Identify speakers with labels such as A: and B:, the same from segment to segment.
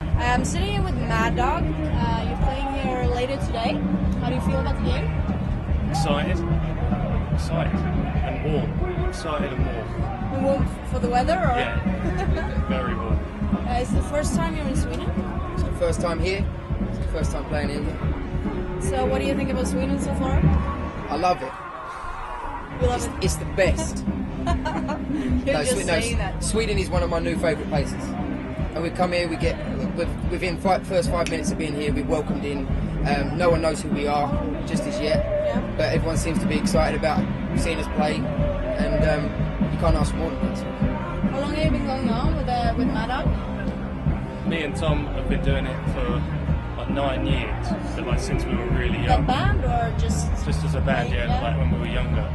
A: I'm sitting here with Mad Dog. Uh, you're playing here later today. How do you feel about the game?
B: Excited, excited, and warm. Excited and warm.
A: You warm f- for the weather, or
B: Yeah, very warm.
A: uh, it's the first time you're in Sweden.
C: It's the first time here. It's the first time playing in England.
A: So, what do you think about Sweden so far?
C: I love it.
A: You love it.
C: It's the best.
A: You're just
C: Swe-
A: saying that.
C: Sweden is one of my new favourite places. And we come here, we get with- within five, first five minutes of being here, we're welcomed in. Um, no one knows who we are just as yet,
A: Yeah.
C: but everyone seems to be excited about seeing us play, and um, you can't ask for more than that.
A: How long have you been going on with uh, with Mad Dog?
B: Me and Tom have been doing it for like nine years, but like since we were really
A: That
B: young,
A: band, or just
B: just as a band, yeah,
A: Yeah.
B: like when we were younger.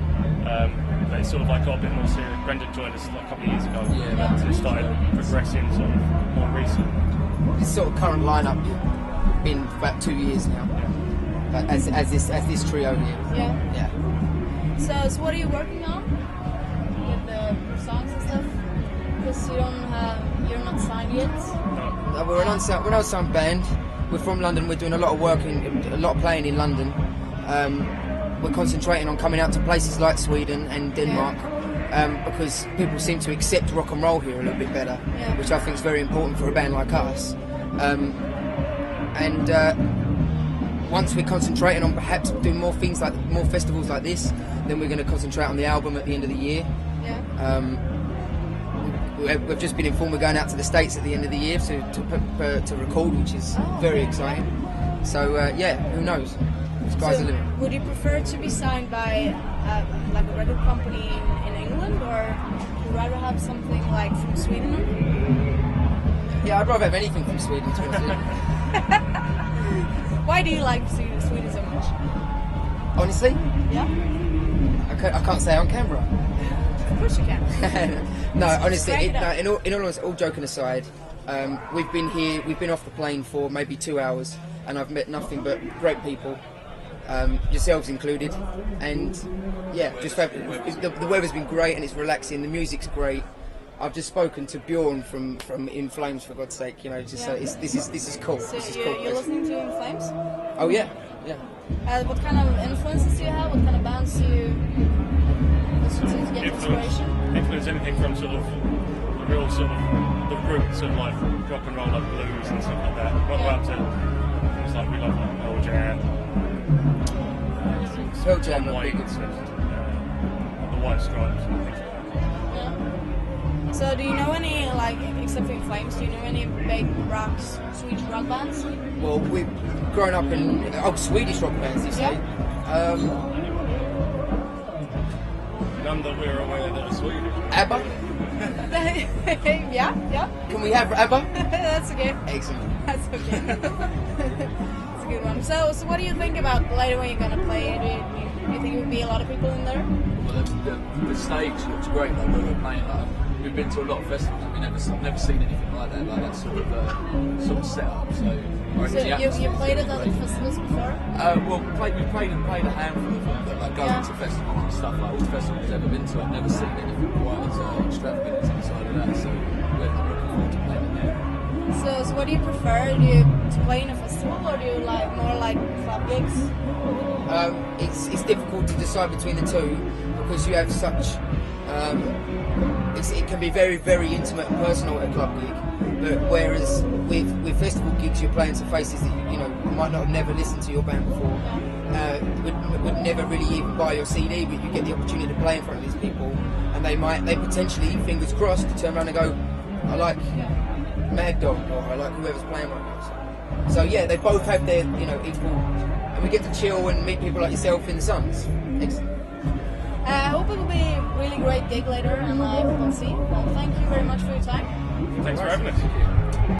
B: Um, but it sort of like got a bit more serious. Brendan joined us like a couple of years ago,
C: Yeah.
B: so it started progressing sort of more recent.
C: This sort of current lineup been about two years now, but as, as this as this trio here.
A: yeah?
C: Yeah.
A: So, so what are you working on with the songs and stuff? Because you don't have, you're not signed yet.
B: No,
C: Uh, We're an unsigned, we're an unsigned band. We're from London. We're doing a lot of work and a lot of playing in London. Um, we're concentrating on coming out to places like Sweden and Denmark um, because people seem to accept rock and roll here a little bit better,
A: Yeah.
C: which I think is very important for a band like us. Um, and uh, once we're concentrating on perhaps doing more things like more festivals like this, then we're going to concentrate on the album at the end of the year.
A: Yeah.
C: Um, we- we've just been informed we're going out to the States at the end of the year to, to, p- p- to record, which is
A: Oh.
C: very exciting. So, uh, yeah, who knows? Sky's
A: So
C: the limit.
A: would you prefer to be signed by uh, like a record company in, in England, or would you rather have something like from Sweden?
C: Yeah, I'd rather have anything from Sweden, to be honest with you.
A: Why do you like Sweden, Sweden so much?
C: Honestly,
A: Yeah,
C: I can't, I can't say on camera.
A: of course you can.
C: no, honestly,
A: straight
C: it, no,
A: up.
C: in, all, in all honesty, all joking aside, um, we've been here, we've been off the plane for maybe two hours, and I've met nothing but great people, um, yourselves included, and yeah, just fab- the, the weather's been great and it's relaxing, the music's great. I've just spoken to Bjorn from, from In Flames for God's sake, you know. Just so
A: Yeah.
C: it's, this is this is cool.
A: So
C: this is
A: you're,
C: cool.
A: you're listening to In Flames.
C: Oh yeah, yeah.
A: Uh, what kind of influences do you have? What kind of bands do you listen to to get
B: influence,
A: inspiration?
B: influence anything from sort of the real sort of the roots of like rock and roll, like blues and stuff like that, right the way up to things like we love like Pearl Jam, uh,
C: Pearl Jam
B: Tom
C: would be
B: Waits,
C: good.
B: uh, the White Stripes, and things like that.
A: Yeah. So do you know any like except for In Flames? Do you know any big rock Swedish rock bands?
C: Well, we've grown up in oh Swedish rock bands, you say. Um,
B: None that we're aware that are Swedish.
C: ABBA.
A: yeah, yeah.
C: Can we have ABBA?
A: That's okay.
C: Excellent.
A: That's okay. That's a good one. So, so what do you think about later when you're gonna play? Do you, do you think it would be a lot of people in there?
D: Well, the, the, the stage looks great like where we're playing. Like, we've been to a lot of festivals and we've never, never seen anything like that, like that sort of uh, sort of setup. So, I
A: So
D: reckon
A: you,
D: the
A: you
D: atmosphere's
A: played at
D: gonna
A: other
D: be great.
A: festivals before?
D: Uh, well, we played, we played and played a handful of them, but like going
A: Yeah.
D: to festivals and stuff like all the festivals I've ever been to, I've never seen anything quite as uh, extravagant as inside of that. So we're looking forward to playing there.
A: So, so what do you prefer? Do you to play in a festival or do you like more like club gigs?
C: um, it's, it's difficult to decide between the two because you have such. Um, it's, it can be very, very intimate and personal at a club gig. But whereas with, with festival gigs, you're playing to faces that you, you know might not have never listened to your band before, uh, would, would never really even buy your CD, but you get the opportunity to play in front of these people, and they might, they potentially, fingers crossed, turn around and go, I like Mad Dog or I like whoever's playing right now. So, so yeah, they both have their you know equal, and we get to chill and meet people like yourself in the suns. Excellent.
A: Uh, I hope it will be a really great gig later and live. We'll see. Well, thank you very much for your time.
B: Thanks for having us.